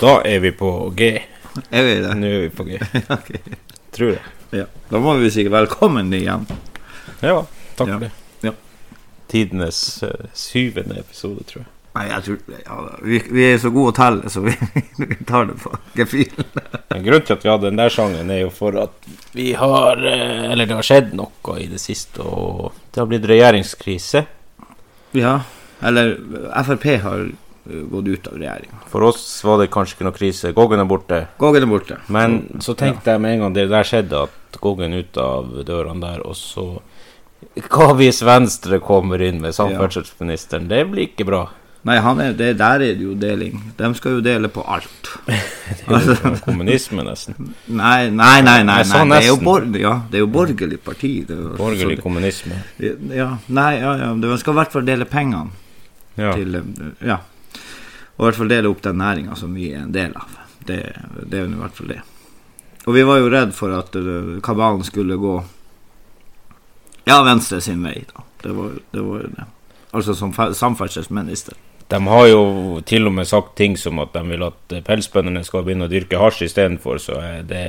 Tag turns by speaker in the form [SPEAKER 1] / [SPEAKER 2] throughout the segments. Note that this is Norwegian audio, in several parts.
[SPEAKER 1] Da er vi på G.
[SPEAKER 2] Er vi det?
[SPEAKER 1] Nå er vi på G.
[SPEAKER 2] Ok.
[SPEAKER 1] Tror jeg.
[SPEAKER 2] Ja. Da må vi si velkommen igjen.
[SPEAKER 1] Ja, takk
[SPEAKER 2] Ja.
[SPEAKER 1] for det.
[SPEAKER 2] Ja.
[SPEAKER 1] Tidenes eh, syvende episode, tror jeg.
[SPEAKER 2] Nei, jeg tror ja, vi, vi er så gode å telle, så vi, vi tar det på gefühl.
[SPEAKER 1] Men Grunnen til at vi hadde den der sangen, er jo for at vi har eh, Eller det har skjedd noe i det siste, og det har blitt regjeringskrise.
[SPEAKER 2] Ja. Eller Frp har eh, gått ut av regjeringa.
[SPEAKER 1] For oss var det kanskje ikke noe krise. Goggen er borte.
[SPEAKER 2] Gågen er borte.
[SPEAKER 1] Men så tenkte jeg med en gang det der skjedde, at Goggen ut av dørene der, og så Hva hvis Venstre kommer inn med samferdselsministeren? Det blir ikke bra.
[SPEAKER 2] Nei, han er, det, der er det jo deling. De skal jo dele på alt. Altså,
[SPEAKER 1] Det er jo Kommunisme, nesten.
[SPEAKER 2] Nei, nei, nei. nei, nei.
[SPEAKER 1] Jeg sa
[SPEAKER 2] Det, er jo
[SPEAKER 1] nesten.
[SPEAKER 2] bor, ja, det er jo borgerlig parti. Det er jo-
[SPEAKER 1] Borgerlig
[SPEAKER 2] så
[SPEAKER 1] kommunisme.
[SPEAKER 2] det, ja, Nei, ja, ja. De skal i hvert fall dele pengene.
[SPEAKER 1] Ja.
[SPEAKER 2] til eh, Ja. Og i hvert fall dele opp den næringa som vi er en del av. Det, det er jo i hvert fall det. Og vi var jo redd for at eh, kabalen skulle gå ja, Venstre sin vei, da. Det var, det var jo det. Altså som fe- samferdselsminister.
[SPEAKER 1] De har jo til og med sagt ting som at de vil at eh, pelsbøndene skal begynne å dyrke hasj istedenfor, så jeg, det,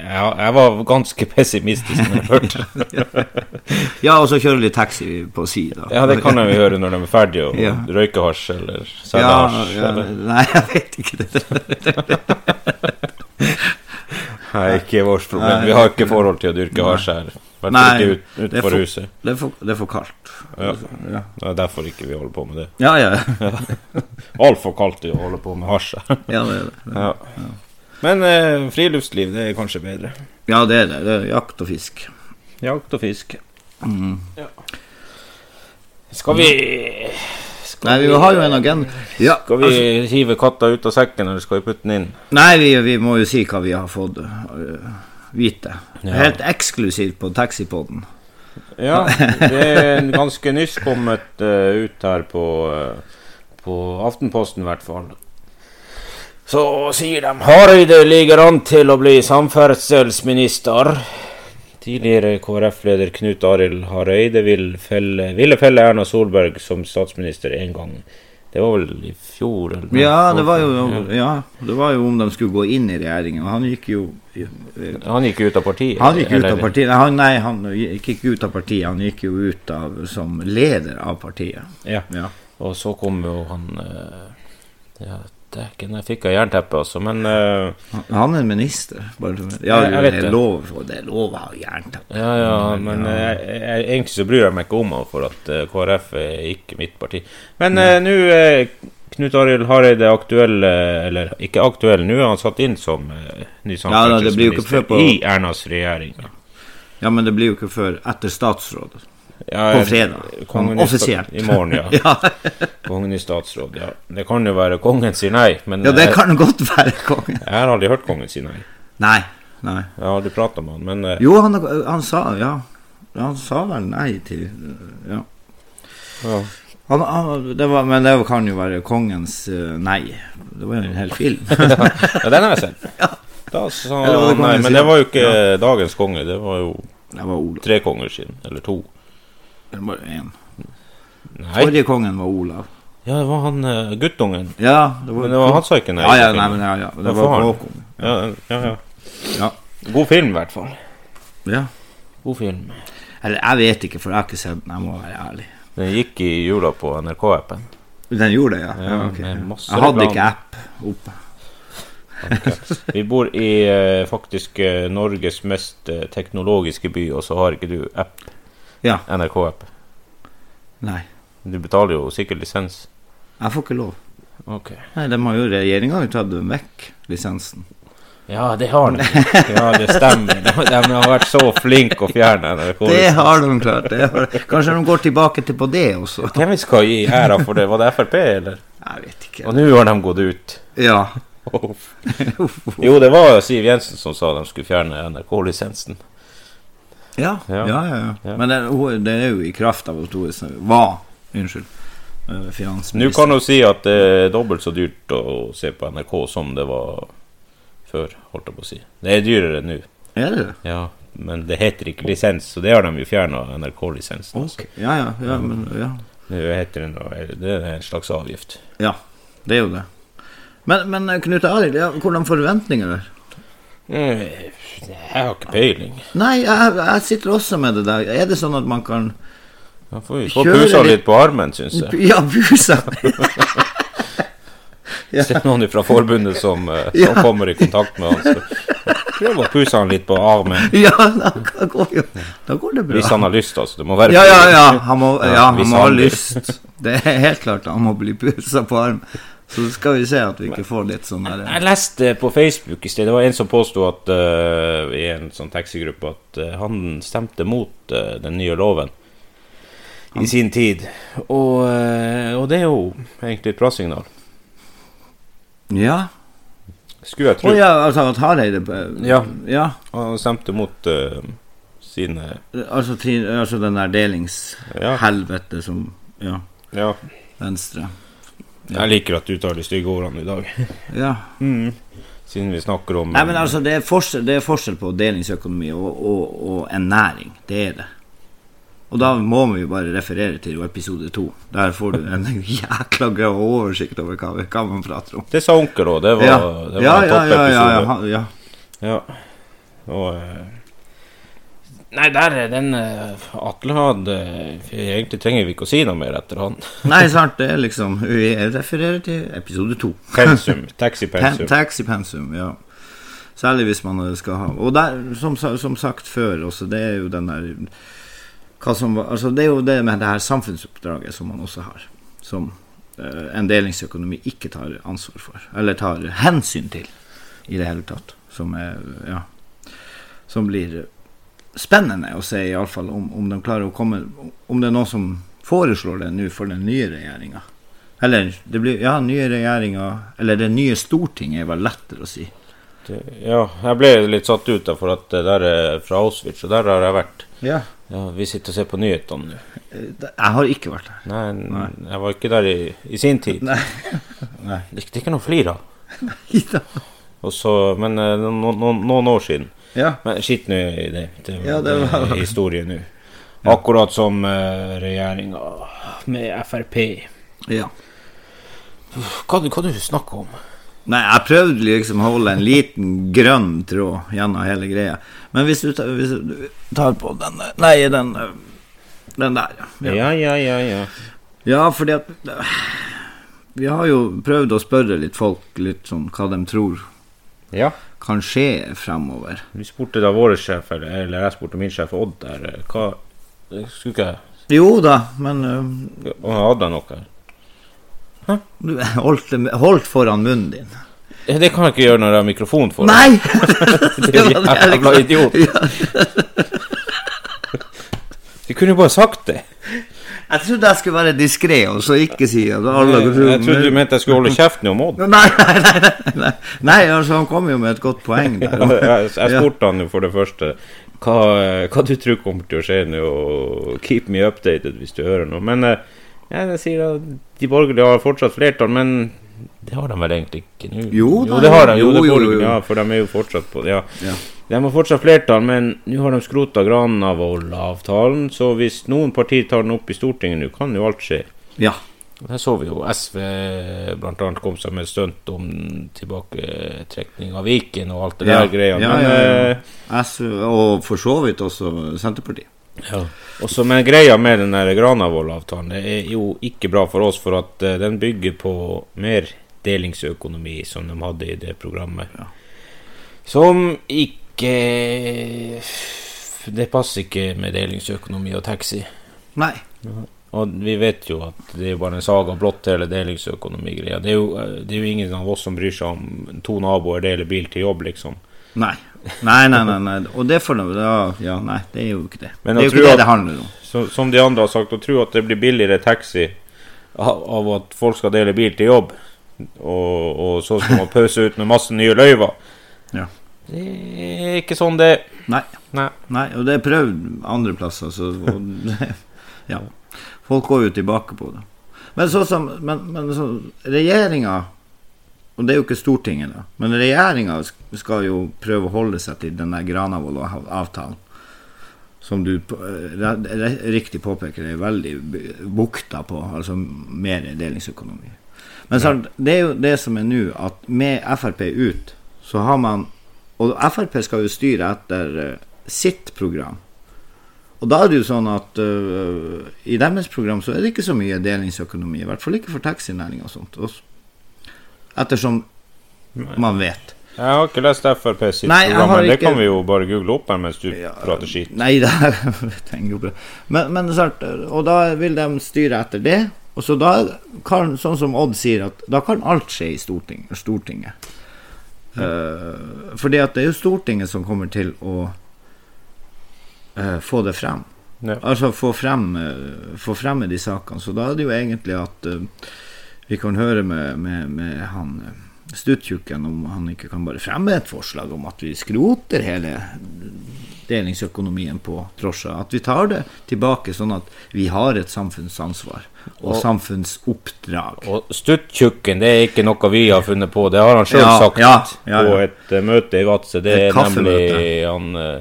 [SPEAKER 1] jeg, jeg var ganske pessimistisk når jeg hørte det.
[SPEAKER 2] Ja, og så kjøre litt taxi på si, da.
[SPEAKER 1] Ja, det kan de jo gjøre når de er ferdige og
[SPEAKER 2] Ja.
[SPEAKER 1] røyker hasj eller selger
[SPEAKER 2] ja,
[SPEAKER 1] hasj.
[SPEAKER 2] ja,
[SPEAKER 1] eller-
[SPEAKER 2] Nei, jeg vet ikke det.
[SPEAKER 1] Nei, ikke vårt problem.
[SPEAKER 2] Nei,
[SPEAKER 1] vi har ikke forhold til å dyrke hasj her. I hvert
[SPEAKER 2] Nei,
[SPEAKER 1] fall ikke ut,
[SPEAKER 2] det er
[SPEAKER 1] utenfor
[SPEAKER 2] for-
[SPEAKER 1] huset.
[SPEAKER 2] Det er for, det er for kaldt. Altså,
[SPEAKER 1] Ja.
[SPEAKER 2] Ja,
[SPEAKER 1] Det er derfor ikke vi holder på med det.
[SPEAKER 2] ja. ja.
[SPEAKER 1] Altfor kaldt til å holde på med hasj her.
[SPEAKER 2] ja det er det.
[SPEAKER 1] Ja. Men eh, friluftsliv, det er kanskje bedre.
[SPEAKER 2] Ja, det er det. Det er jakt og fisk.
[SPEAKER 1] Jakt og fisk.
[SPEAKER 2] Mm.
[SPEAKER 1] Skal vi skal
[SPEAKER 2] Nei, vi har jo en agenda. Ja, altså,
[SPEAKER 1] Skal vi hive katta ut av sekken, eller skal vi putte den inn?
[SPEAKER 2] Nei, vi, vi må jo si hva vi har fått øh, vite.
[SPEAKER 1] Ja.
[SPEAKER 2] Helt eksklusivt på taxipoden.
[SPEAKER 1] Ja, det er en ganske nyss kommet eh, ut her på, eh, på Aftenposten, i hvert fall. Så sier de Hareide ligger an til å bli samferdselsminister. Tidligere KrF-leder Knut Arild Hareide vil felle, ville felle Erna Solberg som statsminister én gang. Det var vel i fjor? Eller noe
[SPEAKER 2] Ja,
[SPEAKER 1] sånt.
[SPEAKER 2] det var jo, ja, det var jo om de skulle gå inn i regjeringen. og Han gikk jo øh,
[SPEAKER 1] Han gikk ut av partiet?
[SPEAKER 2] Han gikk ut
[SPEAKER 1] eller-
[SPEAKER 2] av partiet. Nei, Han, nei, han gikk ikke ut av partiet. Han gikk jo ut av som leder av partiet.
[SPEAKER 1] Ja.
[SPEAKER 2] Ja.
[SPEAKER 1] Og så kom jo han eh, Ja, dæken, jeg fikk av jernteppe, altså. Men eh,
[SPEAKER 2] Han- Han er minister. Bare, for- ja,
[SPEAKER 1] Jeg- jeg vet
[SPEAKER 2] det er
[SPEAKER 1] det.
[SPEAKER 2] lov, og det er lov å ha jernteppe.
[SPEAKER 1] Ja, ja, men eh, jeg, jeg, egentlig så bryr jeg meg ikke om henne, for at eh, KrF er ikke mitt parti. Men eh, nå er Knut Arild Hareide aktuell, eh, eller ikke aktuell, nå er han satt inn som eh, ny
[SPEAKER 2] Ja, da, det blir jo ikke
[SPEAKER 1] samferdselsminister
[SPEAKER 2] prøvd på-
[SPEAKER 1] i Ernas regjering.
[SPEAKER 2] Ja, men det blir jo ikke før etter statsråd.
[SPEAKER 1] Ja,
[SPEAKER 2] På
[SPEAKER 1] eh,
[SPEAKER 2] fredag.
[SPEAKER 1] kongen i sta-
[SPEAKER 2] Offisielt.
[SPEAKER 1] I morgen, ja.
[SPEAKER 2] Ja,
[SPEAKER 1] Kongen i statsråd, ja. Det kan jo være kongen sier nei, men
[SPEAKER 2] ja det
[SPEAKER 1] jeg,
[SPEAKER 2] kan godt være kongen.
[SPEAKER 1] jeg har aldri hørt kongen si nei.
[SPEAKER 2] Nei. Nei.
[SPEAKER 1] Jeg har aldri prata med han, men eh,
[SPEAKER 2] Jo, han, han sa ja. Han sa vel nei til Ja.
[SPEAKER 1] ja.
[SPEAKER 2] Han, han, det var, men det kan jo være kongens eh, nei. Det var jo en hel film.
[SPEAKER 1] ja, den har jeg sett. Da sa
[SPEAKER 2] Eller var det
[SPEAKER 1] han nei,
[SPEAKER 2] kongen
[SPEAKER 1] men
[SPEAKER 2] sin?
[SPEAKER 1] det var jo ikke dagens konge, det var jo
[SPEAKER 2] Det var Olav.
[SPEAKER 1] tre konger siden, eller to.
[SPEAKER 2] Det var en.
[SPEAKER 1] Nei.
[SPEAKER 2] Forrige kongen var Olav.
[SPEAKER 1] Ja, det var han eh, guttungen.
[SPEAKER 2] Ja, det var,
[SPEAKER 1] Men det var han sa ikke nei.
[SPEAKER 2] Ja, ja, nei, men ja, ja.
[SPEAKER 1] Hva
[SPEAKER 2] Det var
[SPEAKER 1] faen?
[SPEAKER 2] Håkon.
[SPEAKER 1] ja, ja, ja.
[SPEAKER 2] Ja.
[SPEAKER 1] God film, i hvert fall.
[SPEAKER 2] ja.
[SPEAKER 1] God film.
[SPEAKER 2] Eller jeg vet ikke, for jeg har ikke sett den. Jeg må være ærlig.
[SPEAKER 1] Den gikk i jula på NRK-appen.
[SPEAKER 2] Den gjorde det, ja. ja,
[SPEAKER 1] Ja,
[SPEAKER 2] ok.
[SPEAKER 1] med masse
[SPEAKER 2] Jeg hadde
[SPEAKER 1] reklame.
[SPEAKER 2] ikke app oppe.
[SPEAKER 1] Vi bor i eh, faktisk eh, Norges mest eh, teknologiske by, og så har ikke du app.
[SPEAKER 2] Ja.
[SPEAKER 1] NRK-app.
[SPEAKER 2] Nei.
[SPEAKER 1] Du betaler jo sikkert lisens.
[SPEAKER 2] Jeg får ikke lov.
[SPEAKER 1] Ok.
[SPEAKER 2] Nei, de har jo regjeringa har jo tatt den vekk, lisensen.
[SPEAKER 1] Ja, det har de. Ja, det stemmer. De, de har vært så flinke å fjerne NRK.
[SPEAKER 2] Det har de klart. Det har. Kanskje de går tilbake til på det også.
[SPEAKER 1] Hvem vi skal gi æra for det? Var det Frp, eller?
[SPEAKER 2] Jeg vet ikke.
[SPEAKER 1] Og nå har de gått ut.
[SPEAKER 2] Ja.
[SPEAKER 1] Jo, det var jo Siv Jensen som sa de skulle fjerne NRK-lisensen.
[SPEAKER 2] Ja, ja,
[SPEAKER 1] Ja.
[SPEAKER 2] ja. ja.
[SPEAKER 1] Ja.
[SPEAKER 2] Men det, hun- det er jo i kraft av at hun er sn- var Unnskyld. eh,
[SPEAKER 1] Nå
[SPEAKER 2] Finansminister.
[SPEAKER 1] kan hun si at det er dobbelt så dyrt å se på NRK som det var før, holdt jeg på å si. Det er dyrere nå,
[SPEAKER 2] Er det det?
[SPEAKER 1] ja. Men det heter ikke lisens, så det har de jo fjerna, NRK-lisensen. altså.
[SPEAKER 2] Ok. Ja, ja, ja, men ja.
[SPEAKER 1] Det heter det noe- det er en slags avgift.
[SPEAKER 2] ja. Det er jo det. Men, men eh, Knut Arild, ja, hvordan forventninger er
[SPEAKER 1] Eh, Jeg har ikke peiling.
[SPEAKER 2] Nei, jeg, jeg sitter også med det der. Er det sånn at man kan
[SPEAKER 1] Da får vi få
[SPEAKER 2] Kjører
[SPEAKER 1] pusa
[SPEAKER 2] litt-
[SPEAKER 1] litt på armen, syns jeg.
[SPEAKER 2] Ja, busa! Ja.
[SPEAKER 1] Hvis det er noen fra forbundet som, eh, som
[SPEAKER 2] Ja.
[SPEAKER 1] kommer i kontakt med han, så prøv å puse han litt på armen.
[SPEAKER 2] Ja, da går, jo, da går det
[SPEAKER 1] Hvis
[SPEAKER 2] bra.
[SPEAKER 1] han har lyst, altså. Det må være
[SPEAKER 2] Ja, ja, ja. Han må, ja,
[SPEAKER 1] hvis
[SPEAKER 2] han må ha
[SPEAKER 1] han vil.
[SPEAKER 2] lyst. Det er helt klart han må bli pusa på armen. Så skal vi se at vi ikke får litt sånn der eh,
[SPEAKER 1] Jeg leste på Facebook i sted, det var en som påsto at eh, i en sånn taxigruppe at eh, han stemte mot eh, den nye loven i sin tid. Og, eh, og det er jo egentlig et bra signal,
[SPEAKER 2] Ja.
[SPEAKER 1] skulle jeg
[SPEAKER 2] Å
[SPEAKER 1] tro.
[SPEAKER 2] ja, altså at Hareide eh,
[SPEAKER 1] Ja.
[SPEAKER 2] ja.
[SPEAKER 1] Han stemte mot eh, sine
[SPEAKER 2] Altså, ti- altså den der
[SPEAKER 1] ja,
[SPEAKER 2] delingshelvete som Ja.
[SPEAKER 1] ja.
[SPEAKER 2] Venstre.
[SPEAKER 1] Jeg liker at du tar de stygge ordene i dag,
[SPEAKER 2] Ja.
[SPEAKER 1] siden vi snakker om eh,
[SPEAKER 2] Nei, men altså, det er forskjell, det er forskjell på delingsøkonomi og, og, og en næring. Det er det. Og da må vi jo bare referere til episode to. Der får du en jækla grov oversikt over hva, hva man prater om.
[SPEAKER 1] Det sa onkel òg, det var,
[SPEAKER 2] Ja,
[SPEAKER 1] det
[SPEAKER 2] ja,
[SPEAKER 1] var en
[SPEAKER 2] ja, ja,
[SPEAKER 1] toppepisode.
[SPEAKER 2] ja, ja, ja.
[SPEAKER 1] Ja. Og eh, Nei, der er den eh, Atle hadde Egentlig trenger vi ikke å si noe mer etter han.
[SPEAKER 2] Nei, sant, det er liksom Vi refererer til episode to.
[SPEAKER 1] Pensum.
[SPEAKER 2] Pen-
[SPEAKER 1] Taxi-pensum.
[SPEAKER 2] Taxi pensum, ja. Særlig hvis man eh, skal ha Og der, som, sa- som sagt før også, det er jo den der hva som, var- altså Det er jo det med det her samfunnsoppdraget som man også har, som eh, en delingsøkonomi ikke tar ansvar for, eller tar hensyn til i det hele tatt, som er Ja. Som blir spennende å se, iallfall, om, om de klarer å komme Om det er noen som foreslår det nå for den nye regjeringa. Eller det blir Ja, nye regjeringa Eller det nye Stortinget er vel lettere å si.
[SPEAKER 1] Ja, jeg ble litt satt ut, da, for at det der er fra Auschwitz, og der har jeg vært.
[SPEAKER 2] Ja.
[SPEAKER 1] Ja, Vi sitter og ser på nyhetene nå.
[SPEAKER 2] Eh, Jeg har ikke vært der.
[SPEAKER 1] Nei, jeg var ikke der i, i sin tid.
[SPEAKER 2] Nei.
[SPEAKER 1] Det, det er ikke noe å flire av.
[SPEAKER 2] Ida.
[SPEAKER 1] Og så- Men eh, no, no, noen år siden
[SPEAKER 2] Ja.
[SPEAKER 1] Men skitt nå i det. Det,
[SPEAKER 2] Ja, det
[SPEAKER 1] det
[SPEAKER 2] var-
[SPEAKER 1] er historie nå. Akkurat som uh, regjeringa med Frp.
[SPEAKER 2] ja.
[SPEAKER 1] Hva, hva du snakker om?
[SPEAKER 2] Nei, jeg prøvde liksom å holde en liten grønn tråd gjennom hele greia. Men hvis du tar, hvis du tar på den eh, Nei, den eh, Den der, ja.
[SPEAKER 1] Ja, ja, ja. ja.
[SPEAKER 2] Ja, fordi at Vi har jo prøvd å spørre litt folk litt sånn hva de tror
[SPEAKER 1] ja.
[SPEAKER 2] kan skje fremover.
[SPEAKER 1] Vi spurte da vår sjef, eller, eller jeg spurte min sjef Odd der, eh, hva Skulle ikke jeg
[SPEAKER 2] Jo da, men øhm,
[SPEAKER 1] Å, Hadde jeg noe?
[SPEAKER 2] du holdt, det- holdt foran munnen din.
[SPEAKER 1] Eh, Det kan jeg ikke gjøre når jeg har mikrofon for
[SPEAKER 2] Nei!
[SPEAKER 1] Det er jo jævla idiot.
[SPEAKER 2] Ja,
[SPEAKER 1] Du kunne jo bare sagt det.
[SPEAKER 2] jeg trodde jeg skulle være diskré og så ikke si at alle
[SPEAKER 1] jeg, jeg trodde du mente jeg skulle holde kjeften om Odd.
[SPEAKER 2] Nei, nei, nei, nei, nei. Nei, altså, han kom jo med et godt poeng der.
[SPEAKER 1] Jeg, jeg jeg spurte han jo for det første hva, eh, hva du tror kommer til å skje nå, og keep me updated hvis du hører noe. Men eh, ja, jeg sier at de borgerlige har fortsatt flertall, men det har de vel egentlig ikke nå?
[SPEAKER 2] Jo,
[SPEAKER 1] jo
[SPEAKER 2] nei,
[SPEAKER 1] det har de.
[SPEAKER 2] jo,
[SPEAKER 1] Jo, det
[SPEAKER 2] jo, jo,
[SPEAKER 1] borgerlige,
[SPEAKER 2] jo.
[SPEAKER 1] Ja, for de er jo fortsatt på det. Ja.
[SPEAKER 2] Ja.
[SPEAKER 1] De har fortsatt flertall, men nå har de skrota Granavolden-avtalen, så hvis noen partier tar den opp i Stortinget nå, kan jo alt skje.
[SPEAKER 2] Ja.
[SPEAKER 1] Der så vi jo SV blant annet kom seg med stunt om tilbaketrekning av Viken og alt det
[SPEAKER 2] Ja.
[SPEAKER 1] der greia.
[SPEAKER 2] Ja,
[SPEAKER 1] men,
[SPEAKER 2] ja, ja.
[SPEAKER 1] eh,
[SPEAKER 2] SV, og for så vidt også Senterpartiet.
[SPEAKER 1] Og så men greia med den der Granavolden-avtalen, det er jo ikke bra for oss, for at eh, den bygger på mer delingsøkonomi, som de hadde i det programmet.
[SPEAKER 2] Ja.
[SPEAKER 1] Som ikke Det passer ikke med delingsøkonomi og taxi.
[SPEAKER 2] Nei.
[SPEAKER 1] Og vi vet jo at det er jo bare en saga blått hele delingsøkonomigreia. Det, er jo, eh, det er jo ingen av oss som bryr seg om to naboer deler bil til jobb, liksom.
[SPEAKER 2] Nei. Nei, nei, nei, nei. Og det får de da Ja, nei, det er jo ikke det.
[SPEAKER 1] Men
[SPEAKER 2] det er jo
[SPEAKER 1] jeg
[SPEAKER 2] ikke
[SPEAKER 1] tror
[SPEAKER 2] det
[SPEAKER 1] at-
[SPEAKER 2] det handler om.
[SPEAKER 1] Så, som de andre har sagt, å tro at det blir billigere taxi av, av at folk skal dele bil til jobb, og, og så skal man pause ut med masse nye løyver
[SPEAKER 2] Ja.
[SPEAKER 1] Det er ikke sånn det
[SPEAKER 2] Nei.
[SPEAKER 1] Nei.
[SPEAKER 2] Nei, og det er prøvd andre plasser, så og, Ja. Folk går jo tilbake på det. Men sånn som Men, men så, regjeringa Og det er jo ikke Stortinget, da. Men regjeringa sk- skal jo prøve å holde seg til den der Granavolden-avtalen. Som du på- eh, re- re- riktig påpeker er veldig b- bukta på, altså mer delingsøkonomi. Men sant, det er jo det som er nå, at med Frp ut, så har man Og Frp skal jo styre etter eh, sitt program. Og da er det jo sånn at øh, i deres program så er det ikke så mye delingsøkonomi. I hvert fall ikke for taxinæringa og sånt. Også. Ettersom man vet.
[SPEAKER 1] Jeg har ikke lest Frp sitt
[SPEAKER 2] Nei, jeg
[SPEAKER 1] program,
[SPEAKER 2] har
[SPEAKER 1] men det
[SPEAKER 2] ikke-
[SPEAKER 1] kan vi jo bare google opp her mens du prater skit.
[SPEAKER 2] Nei, det her trenger jo bra. Men, men det er sant, og da vil de styre etter det. Og så da kan, sånn som Odd sier, at da kan alt skje i Storting, Stortinget. Eh, fordi at det er jo Stortinget som kommer til å eh, få det frem.
[SPEAKER 1] Ja.
[SPEAKER 2] Altså få frem, eh, få frem de sakene. Så da er det jo egentlig at eh, vi kan høre med, med, med han eh, Stuttjukken om han ikke kan bare fremme et forslag om at vi skroter hele delingsøkonomien på drosjer. At vi tar det tilbake, sånn at vi har et samfunnsansvar og, samfunnsoppdrag.
[SPEAKER 1] Og stuttjukken, det er ikke noe vi har funnet på. Det har han sjøl
[SPEAKER 2] Ja,
[SPEAKER 1] sagt
[SPEAKER 2] ja, ja, ja.
[SPEAKER 1] på et eh, møte i Vadsø. Det
[SPEAKER 2] Et
[SPEAKER 1] er nemlig
[SPEAKER 2] kaffemøte.
[SPEAKER 1] han, eh,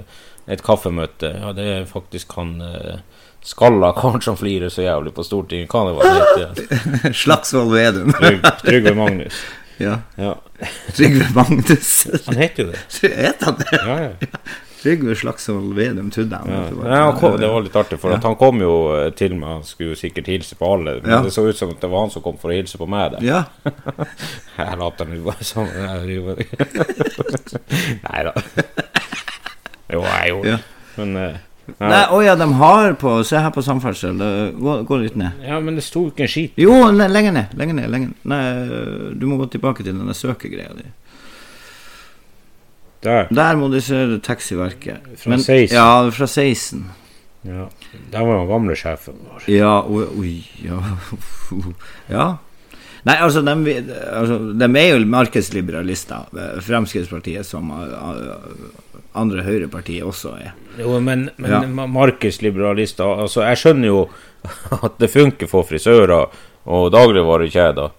[SPEAKER 1] et kaffemøte. Ja, det er faktisk han eh, skalla karen som flirer så jævlig på Stortinget. Hva det var det het?
[SPEAKER 2] Slagsvold Vedum.
[SPEAKER 1] Tryg- Trygve Magnus.
[SPEAKER 2] ja.
[SPEAKER 1] Ja.
[SPEAKER 2] Trygve Magnus.
[SPEAKER 1] Han heter jo det.
[SPEAKER 2] Het han det?
[SPEAKER 1] Ja, ja.
[SPEAKER 2] Trygve Slagsvold Vedum, trodde jeg.
[SPEAKER 1] Ja.
[SPEAKER 2] at det var.
[SPEAKER 1] Nei, han kom, det var litt artig, for at han kom jo eh, til meg. Han skulle jo sikkert hilse på alle, men
[SPEAKER 2] Ja.
[SPEAKER 1] det så ut som at det var han som kom for å hilse på meg. Der.
[SPEAKER 2] Ja.
[SPEAKER 1] Jeg later nå bare som Nei da. Jo, jeg gjorde
[SPEAKER 2] Ja.
[SPEAKER 1] det. Men eh, nei.
[SPEAKER 2] Nei, å ja, de har på Se her på samferdsel. eh, Gå, gå litt ned.
[SPEAKER 1] Ja, men det sto ikke en skit.
[SPEAKER 2] Jo, le- lenger ned. Lenger ned. lenger ned. Nei, du må gå tilbake til denne søkegreia di.
[SPEAKER 1] Der.
[SPEAKER 2] Der må du se taxiverket.
[SPEAKER 1] Fra 16.
[SPEAKER 2] Ja, fra 16.
[SPEAKER 1] Ja. Der var den gamle sjefen vår.
[SPEAKER 2] Ja, oi, oi ja. ja. Nei, altså de, altså, dem er jo markedsliberalister. eh, Fremskrittspartiet, som eh, andre høyrepartier også er.
[SPEAKER 1] Jo, men, men
[SPEAKER 2] Ja.
[SPEAKER 1] ma- markedsliberalister Altså, jeg skjønner jo at det funker for frisører og dagligvarekjeder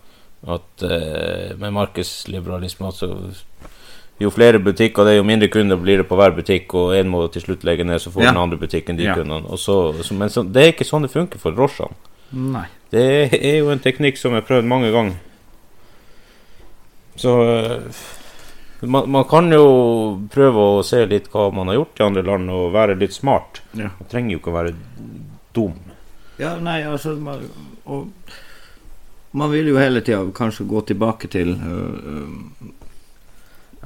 [SPEAKER 1] at eh, med markedsliberalisme altså Jo flere butikker det er, jo mindre kunder blir det på hver butikk, og en må til slutt legge ned, så får
[SPEAKER 2] Ja.
[SPEAKER 1] den andre butikken de
[SPEAKER 2] Ja.
[SPEAKER 1] kundene. Og så, så, men så, det er ikke sånn det funker for drosjene.
[SPEAKER 2] Nei.
[SPEAKER 1] Det er jo en teknikk som jeg har prøvd mange ganger. Så eh, man, man kan jo prøve å se litt hva man har gjort i andre land, og være litt smart.
[SPEAKER 2] Ja.
[SPEAKER 1] Man trenger jo ikke å være dum.
[SPEAKER 2] Ja, nei, altså man, og, man vil jo hele tida kanskje gå tilbake til øh, øh,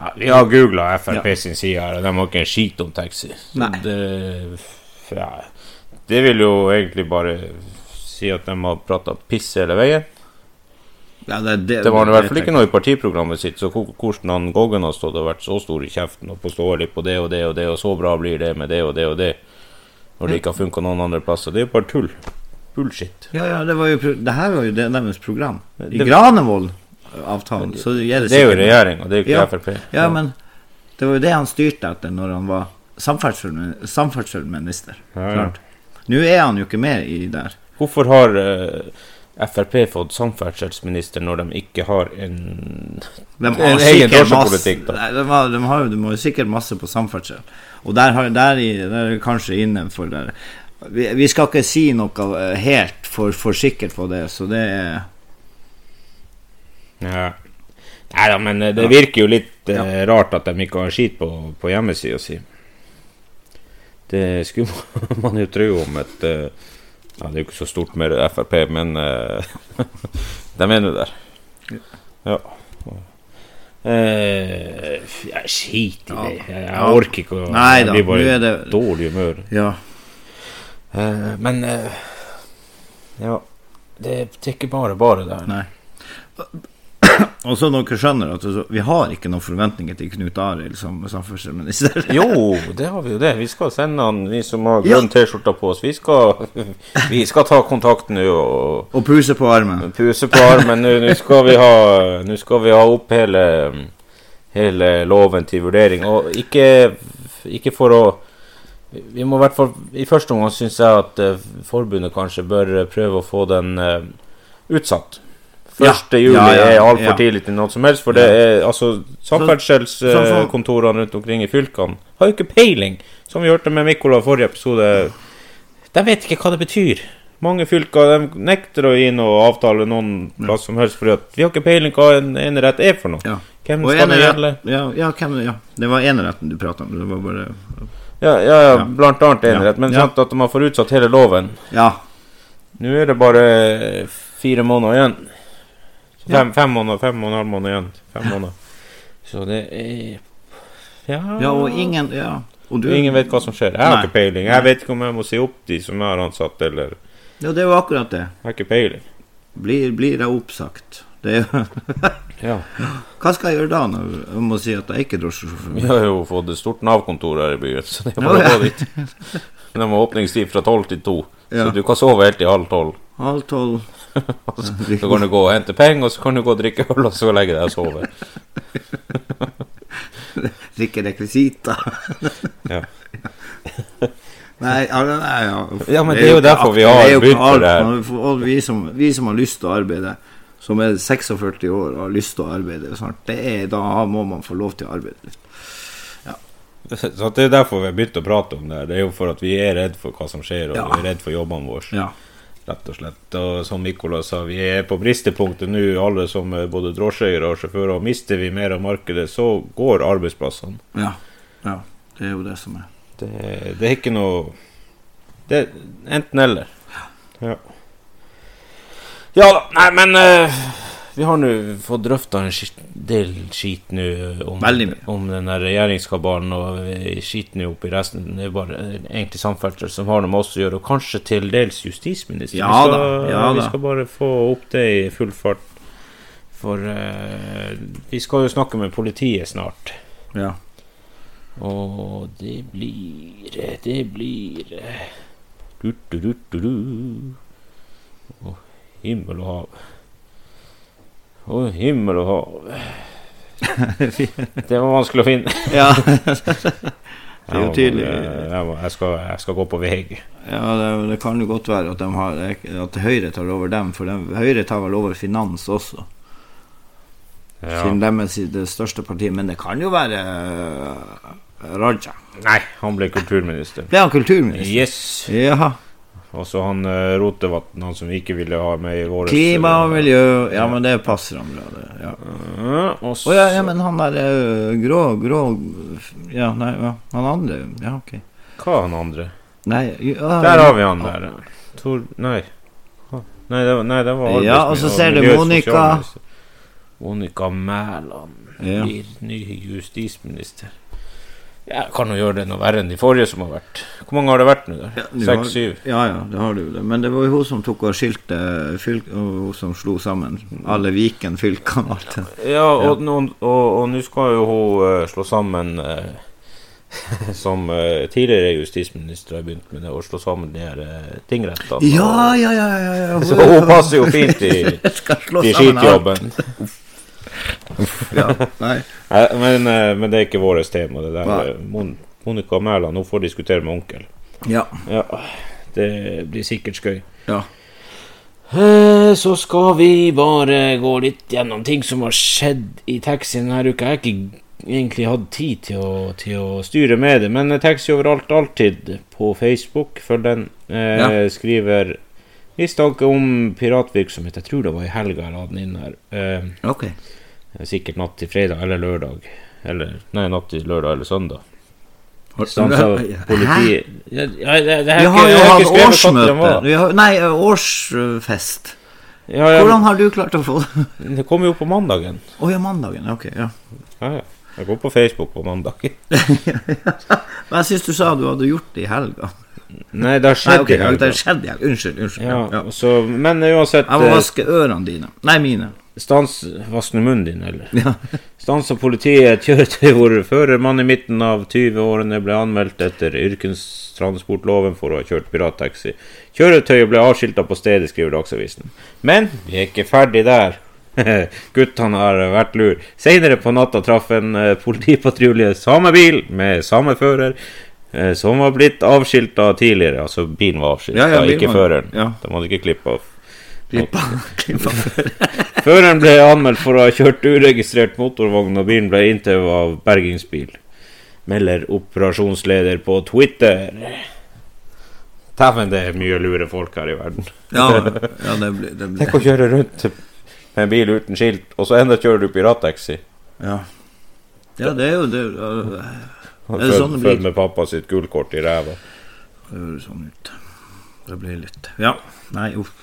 [SPEAKER 1] Ja, vi har googla Frp
[SPEAKER 2] Ja.
[SPEAKER 1] sin side her, og de har ikke en skit om taxi. Så
[SPEAKER 2] Nei.
[SPEAKER 1] Det, ja, det vil jo egentlig bare si at de har prata piss hele veien.
[SPEAKER 2] ja, det,
[SPEAKER 1] Det var i hvert fall ikke noe i partiprogrammet sitt, så hvor- hvordan han Goggen har stått og vært så stor i kjeften og påståelig på det og det og det, og så bra blir det med det og det og det, når det ikke har funka noen andre plasser. Det er jo bare tull. Bullshit.
[SPEAKER 2] Ja, ja, det var jo pro- Det her var jo det- deres program. I
[SPEAKER 1] Det-
[SPEAKER 2] Granevold-avtalen, så det gjelder
[SPEAKER 1] Det er jo
[SPEAKER 2] sikkert-
[SPEAKER 1] regjeringa, det er jo ikke
[SPEAKER 2] Ja.
[SPEAKER 1] Frp.
[SPEAKER 2] Ja, men det var jo det han styrte etter når han var samferdselsmi- samferdselsminister.
[SPEAKER 1] Ja, ja.
[SPEAKER 2] Klart. Nå er han jo ikke med i der.
[SPEAKER 1] Hvorfor har eh, Frp fått samferdselsminister når de ikke har en
[SPEAKER 2] De
[SPEAKER 1] Det er en egen drosjepolitikk, da.
[SPEAKER 2] Nei, de, har, de, har, jo- de har jo sikkert masse på samferdsel. Og der, har, der, i, der er vi kanskje innenfor der. Vi, vi skal ikke si noe eh, helt for, for sikkert på det, så det er
[SPEAKER 1] Ja. Nei da, men eh, det virker jo litt eh, rart at de ikke har skit på, på hjemmesida si. Det skulle man- man jo tro om et eh, Ja, det er jo ikke så stort mer Frp, men eh, de er nå der. Ja. Eh, jeg skiter i det. Jeg, jeg
[SPEAKER 2] Ja.
[SPEAKER 1] orker ikke å
[SPEAKER 2] Nei da,
[SPEAKER 1] Jeg blir bare
[SPEAKER 2] nå er
[SPEAKER 1] i
[SPEAKER 2] det-
[SPEAKER 1] dårlig humør.
[SPEAKER 2] Ja.
[SPEAKER 1] Eh, men eh, Ja. Det, det er ikke bare bare der.
[SPEAKER 2] Nei. Og så dere skjønner at altså, vi har ikke noen forventninger til Knut Arild som samferdselsminister.
[SPEAKER 1] Jo, det har vi jo det. Vi skal sende han, vi som har
[SPEAKER 2] Ja.
[SPEAKER 1] grønn T-skjorte på oss. Vi skal, vi skal ta kontakt nå og
[SPEAKER 2] Og puse på armen.
[SPEAKER 1] puse på armen. Nå- Nå skal vi ha Nå skal vi ha opp hele, hele loven til vurdering. Og ikke, ikke for å Vi må i hvert fall I første omgang syns jeg at eh, forbundet kanskje bør eh, prøve å få den eh, utsatt.
[SPEAKER 2] Ja.
[SPEAKER 1] 1. juli
[SPEAKER 2] Ja, ja,
[SPEAKER 1] er altfor
[SPEAKER 2] ja.
[SPEAKER 1] tidlig til noe som helst, for det er altså
[SPEAKER 2] Så- så-
[SPEAKER 1] Samferdselskontorene rundt omkring i fylkene har jo ikke peiling, som vi hørte med Mikola i forrige episode. De vet ikke hva det betyr. Mange fylker de nekter å gi noe avtale noen plass som helst, fordi at vi har ikke peiling hva en enerett er for noe.
[SPEAKER 2] Ja.
[SPEAKER 1] Hvem
[SPEAKER 2] Og
[SPEAKER 1] skal det
[SPEAKER 2] enerett-
[SPEAKER 1] gjelde?
[SPEAKER 2] Ja, ja, hvem, ja. Det var eneretten du prata om. Det var bare
[SPEAKER 1] Ja, ja, ja,
[SPEAKER 2] Ja.
[SPEAKER 1] blant annet enerett, men
[SPEAKER 2] Ja.
[SPEAKER 1] sant at man får utsatt hele loven.
[SPEAKER 2] Ja.
[SPEAKER 1] Nå er det bare eh, fire måneder igjen. Så Fem, fem måneder, fem og en halv måned igjen. Fem måneder. Så det er Ja,
[SPEAKER 2] ja og ingen ja. Og du,
[SPEAKER 1] Ingen vet hva som skjer. Jeg har
[SPEAKER 2] Nei.
[SPEAKER 1] ikke peiling. Jeg vet ikke om jeg må si opp de som jeg har ansatt, eller
[SPEAKER 2] Ja, det er jo akkurat det.
[SPEAKER 1] Jeg har ikke peiling.
[SPEAKER 2] Blir, blir jeg oppsagt? Det er jo
[SPEAKER 1] Ja.
[SPEAKER 2] Hva skal jeg gjøre da når jeg må si at jeg ikke er drosjesjåfør?
[SPEAKER 1] Vi har jo fått et stort Nav-kontor her i byen, så det er bare
[SPEAKER 2] Ja, ja.
[SPEAKER 1] å gå dit. Men de har åpningstid fra tolv til to,
[SPEAKER 2] Ja.
[SPEAKER 1] så du kan sove helt til halv tolv.
[SPEAKER 2] Halv tolv
[SPEAKER 1] Så kan du gå og hente penger, og så kan du gå og drikke øl, og så legge deg og sove.
[SPEAKER 2] Drikke rekvisitter.
[SPEAKER 1] Ja.
[SPEAKER 2] Nei, ja, det- nei, ja.
[SPEAKER 1] Ja, men det er
[SPEAKER 2] jo
[SPEAKER 1] jo derfor
[SPEAKER 2] ikke
[SPEAKER 1] vi
[SPEAKER 2] alt-
[SPEAKER 1] har
[SPEAKER 2] det er jo ikke
[SPEAKER 1] begynt med
[SPEAKER 2] alt,
[SPEAKER 1] det her.
[SPEAKER 2] men for alle Vi som, vi som har lyst til å arbeide, som er 46 år og har lyst til å arbeide snart, det er, da må man få lov til å arbeide litt.
[SPEAKER 1] Så at det er derfor vi har begynt å prate om det her. Det er jo for at vi er redd for hva som skjer, og
[SPEAKER 2] Ja.
[SPEAKER 1] vi er redd for jobbene våre,
[SPEAKER 2] Ja.
[SPEAKER 1] rett og slett. Og som Nicolas sa, vi er på bristepunktet nå, alle som er både drosjeeiere og sjåfører. Og mister vi mer av markedet, så går arbeidsplassene.
[SPEAKER 2] ja. Ja. Det er jo det som er
[SPEAKER 1] Det, det er ikke noe Det er enten eller. Ja. Ja da. Nei, men eh, vi har nå fått drøfta en skit, del skit nå eh, om,
[SPEAKER 2] Veldig mye.
[SPEAKER 1] om den der regjeringskabalen og eh, skiten nå oppi resten. Det er bare eh, egentlig samferdsel som har noe med oss å gjøre, og kanskje til dels justisminister.
[SPEAKER 2] Ja
[SPEAKER 1] vi, skal,
[SPEAKER 2] da, ja
[SPEAKER 1] vi
[SPEAKER 2] da.
[SPEAKER 1] skal bare få opp det i full fart. For eh, vi skal jo snakke med politiet snart.
[SPEAKER 2] Ja.
[SPEAKER 1] Og det blir Det blir du, du, du, du, du. Og himmel og hav. Og himmel og hav. Det var vanskelig å finne. eh,
[SPEAKER 2] Ja, er jo tydelig.
[SPEAKER 1] Jeg, må- jeg, skal, jeg skal gå på VG.
[SPEAKER 2] ja det, det kan jo godt være at, de har, at Høyre tar over dem, for de, Høyre tar vel over finans også.
[SPEAKER 1] Ja.
[SPEAKER 2] Siden de er si- det største partiet. Men det kan jo være eh, Raja.
[SPEAKER 1] Nei, han ble kulturminister.
[SPEAKER 2] Ble han kulturminister?
[SPEAKER 1] Yes.
[SPEAKER 2] Ja.
[SPEAKER 1] Og så han eh, Rotevatn, han som vi ikke ville ha med i vår
[SPEAKER 2] Klima og miljø. Ja, men det passer ham bra, det. Ja.
[SPEAKER 1] Ja, og så
[SPEAKER 2] Å ja, ja, men han der eh, grå, grå Ja, nei, ja. han andre. Ja, ok.
[SPEAKER 1] Hva er han andre?
[SPEAKER 2] Nei ja,
[SPEAKER 1] Der har vi han der. Tor... Nei. Nei, det var, nei, det var arbeidsmi-
[SPEAKER 2] Ja, og så ser du
[SPEAKER 1] miljø- og
[SPEAKER 2] Monica.
[SPEAKER 1] sosialminister. Monica Mæland
[SPEAKER 2] Ja.
[SPEAKER 1] blir ny justisminister. Ja, kan jo gjøre det noe verre enn de forrige som har vært. Hvor mange har det vært nå?
[SPEAKER 2] Ja,
[SPEAKER 1] der?
[SPEAKER 2] du har-
[SPEAKER 1] Seks-syv?
[SPEAKER 2] Ja, ja, det har du jo det. Men det var jo hun som tok og skilte fylk... og Hun som slo sammen alle Viken-fylkene og alt det.
[SPEAKER 1] Ja, og nå og- og nå skal jo hun eh, slå sammen eh, Som eh, tidligere justisminister har begynt med det, å slå sammen de her eh, tingrettene. og-
[SPEAKER 2] Ja, ja, ja, ja, ja.
[SPEAKER 1] Så hun passer jo fint i,
[SPEAKER 2] skal slå
[SPEAKER 1] i
[SPEAKER 2] sammen alt.
[SPEAKER 1] skitjobben.
[SPEAKER 2] Ja, nei.
[SPEAKER 1] Nei, men, eh, men det er ikke vårt tema, det der. eh,
[SPEAKER 2] Nei.
[SPEAKER 1] Mon Monica Mæland, hun får diskutere med onkel.
[SPEAKER 2] Ja.
[SPEAKER 1] Ja, det blir sikkert skøy.
[SPEAKER 2] ja.
[SPEAKER 1] Eh, Så skal vi bare gå litt gjennom ting som har skjedd i taxien denne uka. Jeg har ikke egentlig hatt tid til å, til å styre med det, men taxi overalt, alltid på Facebook. Følg den. Eh,
[SPEAKER 2] Ja.
[SPEAKER 1] Skriver mistanke om piratvirksomhet. Jeg tror det var i helga jeg la den inn her. Eh,
[SPEAKER 2] Ok.
[SPEAKER 1] Sikkert natt til fredag eller lørdag. Eller, nei, natt til lørdag eller søndag.
[SPEAKER 2] Har-
[SPEAKER 1] Stansa
[SPEAKER 2] Hæ?
[SPEAKER 1] politiet ja, ja, det, det
[SPEAKER 2] Vi har
[SPEAKER 1] her, Sånn jeg
[SPEAKER 2] jo
[SPEAKER 1] har
[SPEAKER 2] hatt
[SPEAKER 1] ikke skrevet hva den
[SPEAKER 2] årsmøte.
[SPEAKER 1] var.
[SPEAKER 2] Vi har, nei, ø, årsfest.
[SPEAKER 1] Ja, ja,
[SPEAKER 2] Hvordan har du klart å få det?
[SPEAKER 1] det kom jo på mandagen.
[SPEAKER 2] Å ja, mandagen. Ok, ja.
[SPEAKER 1] Ja, ja. Jeg går på Facebook på mandagen.
[SPEAKER 2] Men jeg syns du sa du hadde gjort det i helga.
[SPEAKER 1] Nei, det har
[SPEAKER 2] Nei,
[SPEAKER 1] skjedd
[SPEAKER 2] ok,
[SPEAKER 1] i helga.
[SPEAKER 2] det skjedde i helga. Unnskyld. unnskyld.
[SPEAKER 1] Ja,
[SPEAKER 2] Ja.
[SPEAKER 1] så- men uansett
[SPEAKER 2] Jeg må
[SPEAKER 1] eh,
[SPEAKER 2] vaske ørene dine. Nei, mine.
[SPEAKER 1] Stans Vaskende munnen din, eller? Stans av politiet et kjøretøy hvor førermann i midten av 20-årene ble anmeldt etter yrkestransportloven for å ha kjørt pirattaxi. Kjøretøyet ble avskilta på stedet, skriver Dagsavisen. Men vi er ikke ferdig der. Guttene har vært lur. Seinere på natta traff en eh, politipatrulje samme bil med samme fører, eh, som var blitt avskilta tidligere. Altså, bilen var avskilta,
[SPEAKER 2] Ja, ja, bilen
[SPEAKER 1] ikke
[SPEAKER 2] var-
[SPEAKER 1] føreren.
[SPEAKER 2] ja.
[SPEAKER 1] De hadde ikke klippa av.
[SPEAKER 2] Klippa. Klippa.
[SPEAKER 1] Føreren ble anmeldt for å ha kjørt uregistrert motorvogn, og bilen ble intervjua av bergingsbil. Melder operasjonsleder på Twitter. Dæven, det er mye lure folk her i verden.
[SPEAKER 2] Ja, ja det blir, det
[SPEAKER 1] Tenk
[SPEAKER 2] blir.
[SPEAKER 1] å kjøre rundt med en bil uten skilt, og så enda kjører du pirattaxi.
[SPEAKER 2] Ja. ja, det er jo det ja, Er det sånn det
[SPEAKER 1] Født
[SPEAKER 2] blir?
[SPEAKER 1] født med pappa sitt gullkort i ræva.
[SPEAKER 2] Det høres sånn ut. Det blir litt Ja. Nei, uff.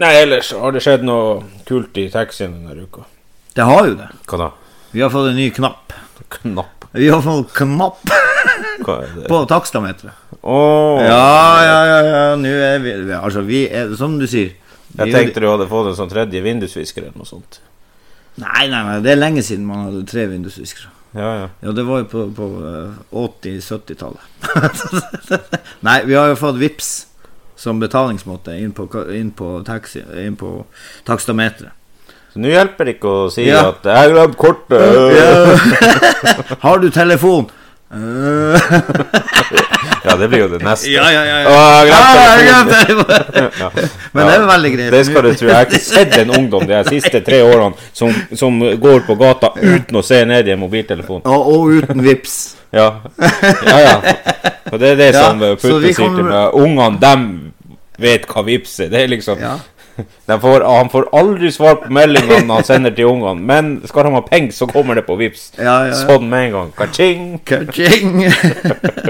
[SPEAKER 1] Nei, ellers har det skjedd noe kult i taxien denne uka.
[SPEAKER 2] Det har jo det.
[SPEAKER 1] Hva da?
[SPEAKER 2] Vi har fått en ny knapp.
[SPEAKER 1] Knapp?
[SPEAKER 2] Vi har fått knapp
[SPEAKER 1] Hva er det?
[SPEAKER 2] på takstameteret.
[SPEAKER 1] Åh,
[SPEAKER 2] Ja, ja, ja, ja. Nå er vi vi- Altså, vi er Som du sier. vi
[SPEAKER 1] Jeg
[SPEAKER 2] er jo-
[SPEAKER 1] tenkte du hadde fått en sånn tredje vindusvisker eller noe sånt.
[SPEAKER 2] Nei, nei, nei. Det er lenge siden man hadde tre vindusviskere.
[SPEAKER 1] Ja, ja.
[SPEAKER 2] Ja, det var jo på, på eh, 80-70-tallet. Nei, vi har jo fått VIPS som betalingsmåte inn på, ka- inn på, taxi, inn på takstameteret.
[SPEAKER 1] Så nå hjelper det ikke å si
[SPEAKER 2] Ja.
[SPEAKER 1] at 'jeg glemte kortet'.
[SPEAKER 2] har du telefon? Eh,
[SPEAKER 1] Ja, det blir jo det neste.
[SPEAKER 2] ja, ja, ja.
[SPEAKER 1] Å, jeg
[SPEAKER 2] Ja,
[SPEAKER 1] glemte
[SPEAKER 2] jeg
[SPEAKER 1] telefonen.
[SPEAKER 2] glemte telefonen.
[SPEAKER 1] Ja.
[SPEAKER 2] Men det er jo veldig greit.
[SPEAKER 1] Det skal du tro. Jeg har ikke sett en ungdom de her siste tre årene som, som går på gata uten å se ned i en mobiltelefon.
[SPEAKER 2] Og, og uten VIPS.
[SPEAKER 1] Ja, ja. ja. Og det er det
[SPEAKER 2] Ja,
[SPEAKER 1] som eh,
[SPEAKER 2] så
[SPEAKER 1] Putte
[SPEAKER 2] vi
[SPEAKER 1] sier til
[SPEAKER 2] kommer-
[SPEAKER 1] meg. Ungene, dem vet hva vips er. Det er liksom
[SPEAKER 2] Ja.
[SPEAKER 1] de får, Han får aldri svar på meldingene han sender til ungene, men skal han ha penger, så kommer det på vips.
[SPEAKER 2] Ja, ja, ja.
[SPEAKER 1] Sånn med en gang. Kaching!
[SPEAKER 2] Kaching!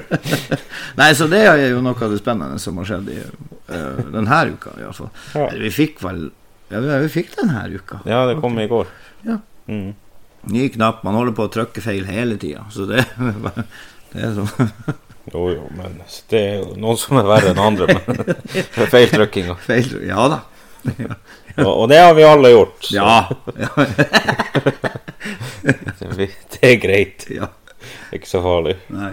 [SPEAKER 2] Nei, så det er jo noe av det spennende som har skjedd i, eh, denne uka, i hvert fall.
[SPEAKER 1] Ja.
[SPEAKER 2] Eller Vi fikk vel Ja, vi vi fikk denne uka.
[SPEAKER 1] Ja, det kom i går.
[SPEAKER 2] Ja.
[SPEAKER 1] Mm.
[SPEAKER 2] Ny knapp. Man holder på å trykke feil hele tida, så det, det er sånn.
[SPEAKER 1] Jo, jo, men det er jo noen som er verre enn andre. Men det er feil trykking. Og,
[SPEAKER 2] Feil Ja da.
[SPEAKER 1] og det har vi alle gjort. så
[SPEAKER 2] Ja. ja,
[SPEAKER 1] vi- Det er greit.
[SPEAKER 2] ja.
[SPEAKER 1] Ikke så farlig.
[SPEAKER 2] Nei.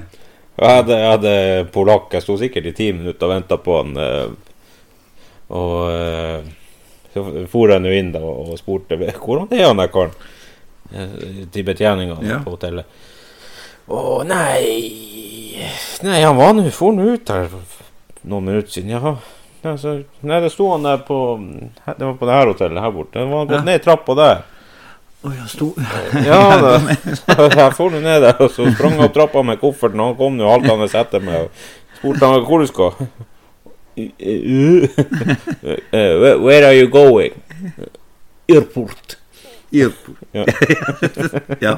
[SPEAKER 1] Jeg hadde, jeg hadde polakk. Jeg sto sikkert i ti minutter og venta på han. eh, Og eh, så for jeg nå inn da og og spurte hvordan er han der karen Eh, til betjeninga
[SPEAKER 2] Ja.
[SPEAKER 1] på hotellet. Å nei Nei, han var nå for nå ut her for noen minutter siden. Jaha. Nei, så, nei, det sto han der på Det var på det her hotellet her borte. Han var gått
[SPEAKER 2] Ja.
[SPEAKER 1] ned trappa der.
[SPEAKER 2] Å, jeg sto
[SPEAKER 1] Ja, da. jeg for nå ned der, og så sprang jeg opp trappa med kofferten, og han kom nå haltende etter meg og spurte han hvor du skal. Eh, where- Where are you going? Airport.
[SPEAKER 2] Airport.
[SPEAKER 1] Ja.
[SPEAKER 2] ja.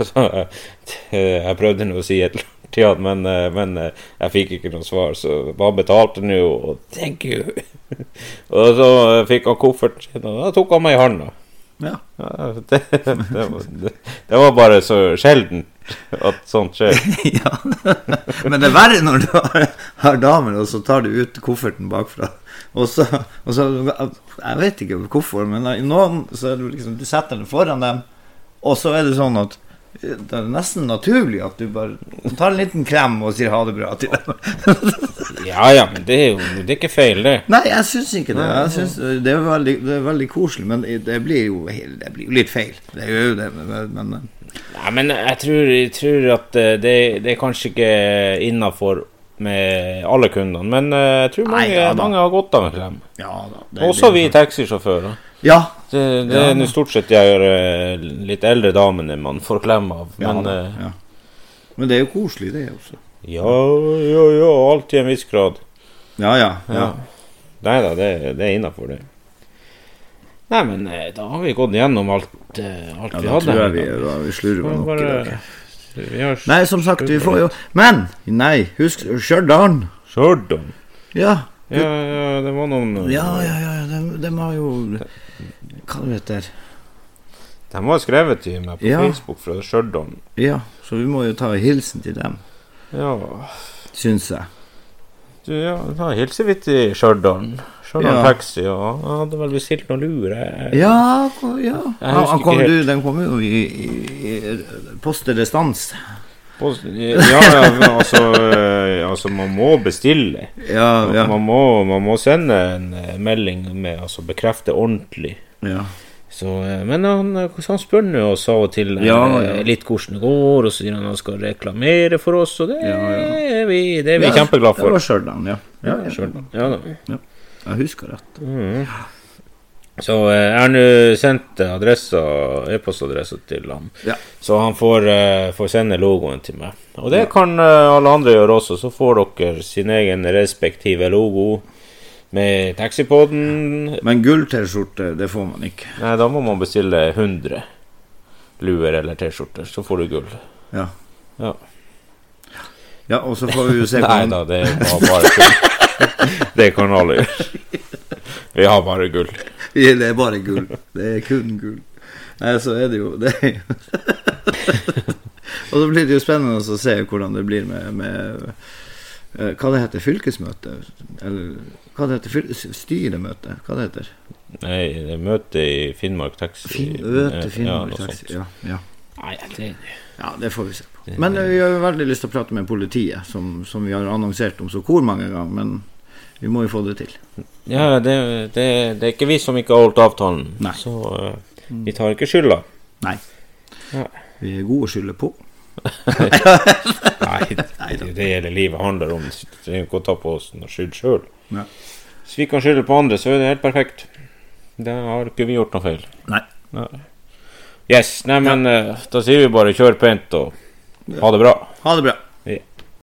[SPEAKER 1] Så, eh, jeg prøvde nå å si et eller annet, til han, men, eh, men eh, jeg fikk ikke noe svar, så han betalte nå, og thank you. Og så eh, fikk han kofferten sin, og da tok han meg i handa.
[SPEAKER 2] ja.
[SPEAKER 1] Ja, det, det, var, det, det var bare så sjelden at sånt skjer.
[SPEAKER 2] ja. Men det er verre når du har, har damer, og så tar du ut kofferten bakfra. Og så, og så Jeg vet ikke hvorfor, men i noen så er det liksom Du setter den foran dem, og så er det sånn at det er nesten naturlig at du bare tar en liten klem og sier ha det bra til dem.
[SPEAKER 1] Ja ja, men det er jo det er ikke feil, det.
[SPEAKER 2] Nei, jeg syns ikke det. Jeg synes, det, er veldig, det er veldig koselig, men det blir jo, helt- det blir jo litt feil. Det gjør jo det, men, men
[SPEAKER 1] Nei, men jeg tror, jeg tror at eh, det, det er kanskje ikke innafor med alle kundene, men eh, jeg tror
[SPEAKER 2] Nei,
[SPEAKER 1] mange,
[SPEAKER 2] ja da.
[SPEAKER 1] mange har godt av en klem.
[SPEAKER 2] Ja da. det-
[SPEAKER 1] Også
[SPEAKER 2] det-
[SPEAKER 1] vi taxisjåfører.
[SPEAKER 2] Ja.
[SPEAKER 1] Det, det
[SPEAKER 2] Ja,
[SPEAKER 1] er nå stort sett de her, eh, litt eldre damene man får klem av,
[SPEAKER 2] Ja,
[SPEAKER 1] men
[SPEAKER 2] da,
[SPEAKER 1] eh,
[SPEAKER 2] ja. Men det er jo koselig, det også.
[SPEAKER 1] ja, ja, ja, alltid en viss grad.
[SPEAKER 2] Ja, ja.
[SPEAKER 1] Ja. Nei da, det, det er innafor, det. Nei, men eh, da har vi gått gjennom alt, eh, alt
[SPEAKER 2] Ja,
[SPEAKER 1] vi
[SPEAKER 2] da
[SPEAKER 1] hadde.
[SPEAKER 2] tror jeg
[SPEAKER 1] her.
[SPEAKER 2] vi, da, vi slurver
[SPEAKER 1] Kan
[SPEAKER 2] nok i dag.
[SPEAKER 1] bare- Vi har
[SPEAKER 2] Nei, som sagt, vi får jo Men! Nei, husk Stjørdal.
[SPEAKER 1] Stjørdal.
[SPEAKER 2] Ja.
[SPEAKER 1] Ja, ja, det var noen eh,
[SPEAKER 2] Ja, ja, ja, ja. De, de har jo Hva det heter det?
[SPEAKER 1] De var skrevet til meg på
[SPEAKER 2] Ja.
[SPEAKER 1] Facebook fra Stjørdal.
[SPEAKER 2] Ja, så vi må jo ta en hilsen til dem,
[SPEAKER 1] Ja.
[SPEAKER 2] syns jeg.
[SPEAKER 1] Du, ja, da hilser vi til Stjørdal. Stjørdal
[SPEAKER 2] Ja.
[SPEAKER 1] Taxi. Og han hadde vel bestilt noen luer. jeg-
[SPEAKER 2] Ja, ko- ja.
[SPEAKER 1] Jeg husker
[SPEAKER 2] Han kom,
[SPEAKER 1] ikke
[SPEAKER 2] du, den kom jo i, i, i poste restans.
[SPEAKER 1] Post- Ja, ja, men altså, eh, altså Man må bestille.
[SPEAKER 2] Ja, ja.
[SPEAKER 1] Man, må, man må sende en eh, melding med altså bekrefte ordentlig.
[SPEAKER 2] ja.
[SPEAKER 1] Så, eh, men han, eh, han spør nå oss av og til eh,
[SPEAKER 2] Ja, ja.
[SPEAKER 1] litt hvordan det går, og så sier han han skal reklamere for oss, og det
[SPEAKER 2] Ja, ja.
[SPEAKER 1] er vi, det er vi kjempeglad
[SPEAKER 2] Det
[SPEAKER 1] for.
[SPEAKER 2] var Stjørdal, ja. Ja, ja.
[SPEAKER 1] Skjønner. Ja, da.
[SPEAKER 2] Jeg husker rett.
[SPEAKER 1] Mm. Så eh, jeg har nå sendt adressa, e-postadressa til han,
[SPEAKER 2] Ja.
[SPEAKER 1] så han får, eh, får sende logoen til meg. Og det kan eh, alle andre gjøre også, så får dere sin egen respektive logo med taxipoden.
[SPEAKER 2] Men gull T-skjorte, det får man ikke.
[SPEAKER 1] Nei, da må man bestille 100 luer eller T-skjorter, så får du gull.
[SPEAKER 2] Ja.
[SPEAKER 1] Ja.
[SPEAKER 2] ja, og så får vi jo se
[SPEAKER 1] Nei
[SPEAKER 2] hvordan
[SPEAKER 1] da, det var bare gull. det kan alle gjøre. Vi har bare gull.
[SPEAKER 2] Ja, Det er bare gull. Det er kun gull. Nei, så er det jo det. er jo- Og så blir det jo spennende å se hvordan det blir med, med eh, Hva det heter fylkesmøte? Eller hva det heter fyl styremøte? Hå det heter
[SPEAKER 1] Nei, det er møte i Finnmark Taxi.
[SPEAKER 2] Fin
[SPEAKER 1] eh, Ja,
[SPEAKER 2] Øte
[SPEAKER 1] noe
[SPEAKER 2] Finnmark
[SPEAKER 1] sånt.
[SPEAKER 2] Taxi. Ja, ja.
[SPEAKER 1] Nei, det
[SPEAKER 2] ja, det får vi se på. Men eh, vi har jo veldig lyst til å prate med politiet, som, som vi har annonsert om så hvor mange ganger. Men vi må jo få det til.
[SPEAKER 1] Ja, det, det, det er ikke vi som ikke har holdt avtalen.
[SPEAKER 2] Nei.
[SPEAKER 1] Så eh, vi tar ikke skylda.
[SPEAKER 2] Nei.
[SPEAKER 1] Ja.
[SPEAKER 2] Vi er gode å skylde på.
[SPEAKER 1] Nei, det, det hele livet handler om. Vi trenger ikke å ta på oss noe skyld sjøl.
[SPEAKER 2] Nei.
[SPEAKER 1] Hvis vi kan skylde på andre, så er det helt perfekt. Da har ikke vi gjort noe feil.
[SPEAKER 2] Nei.
[SPEAKER 1] Yes, nei, men eh, da sier vi bare kjør pent og ha det bra.
[SPEAKER 2] Ha det bra.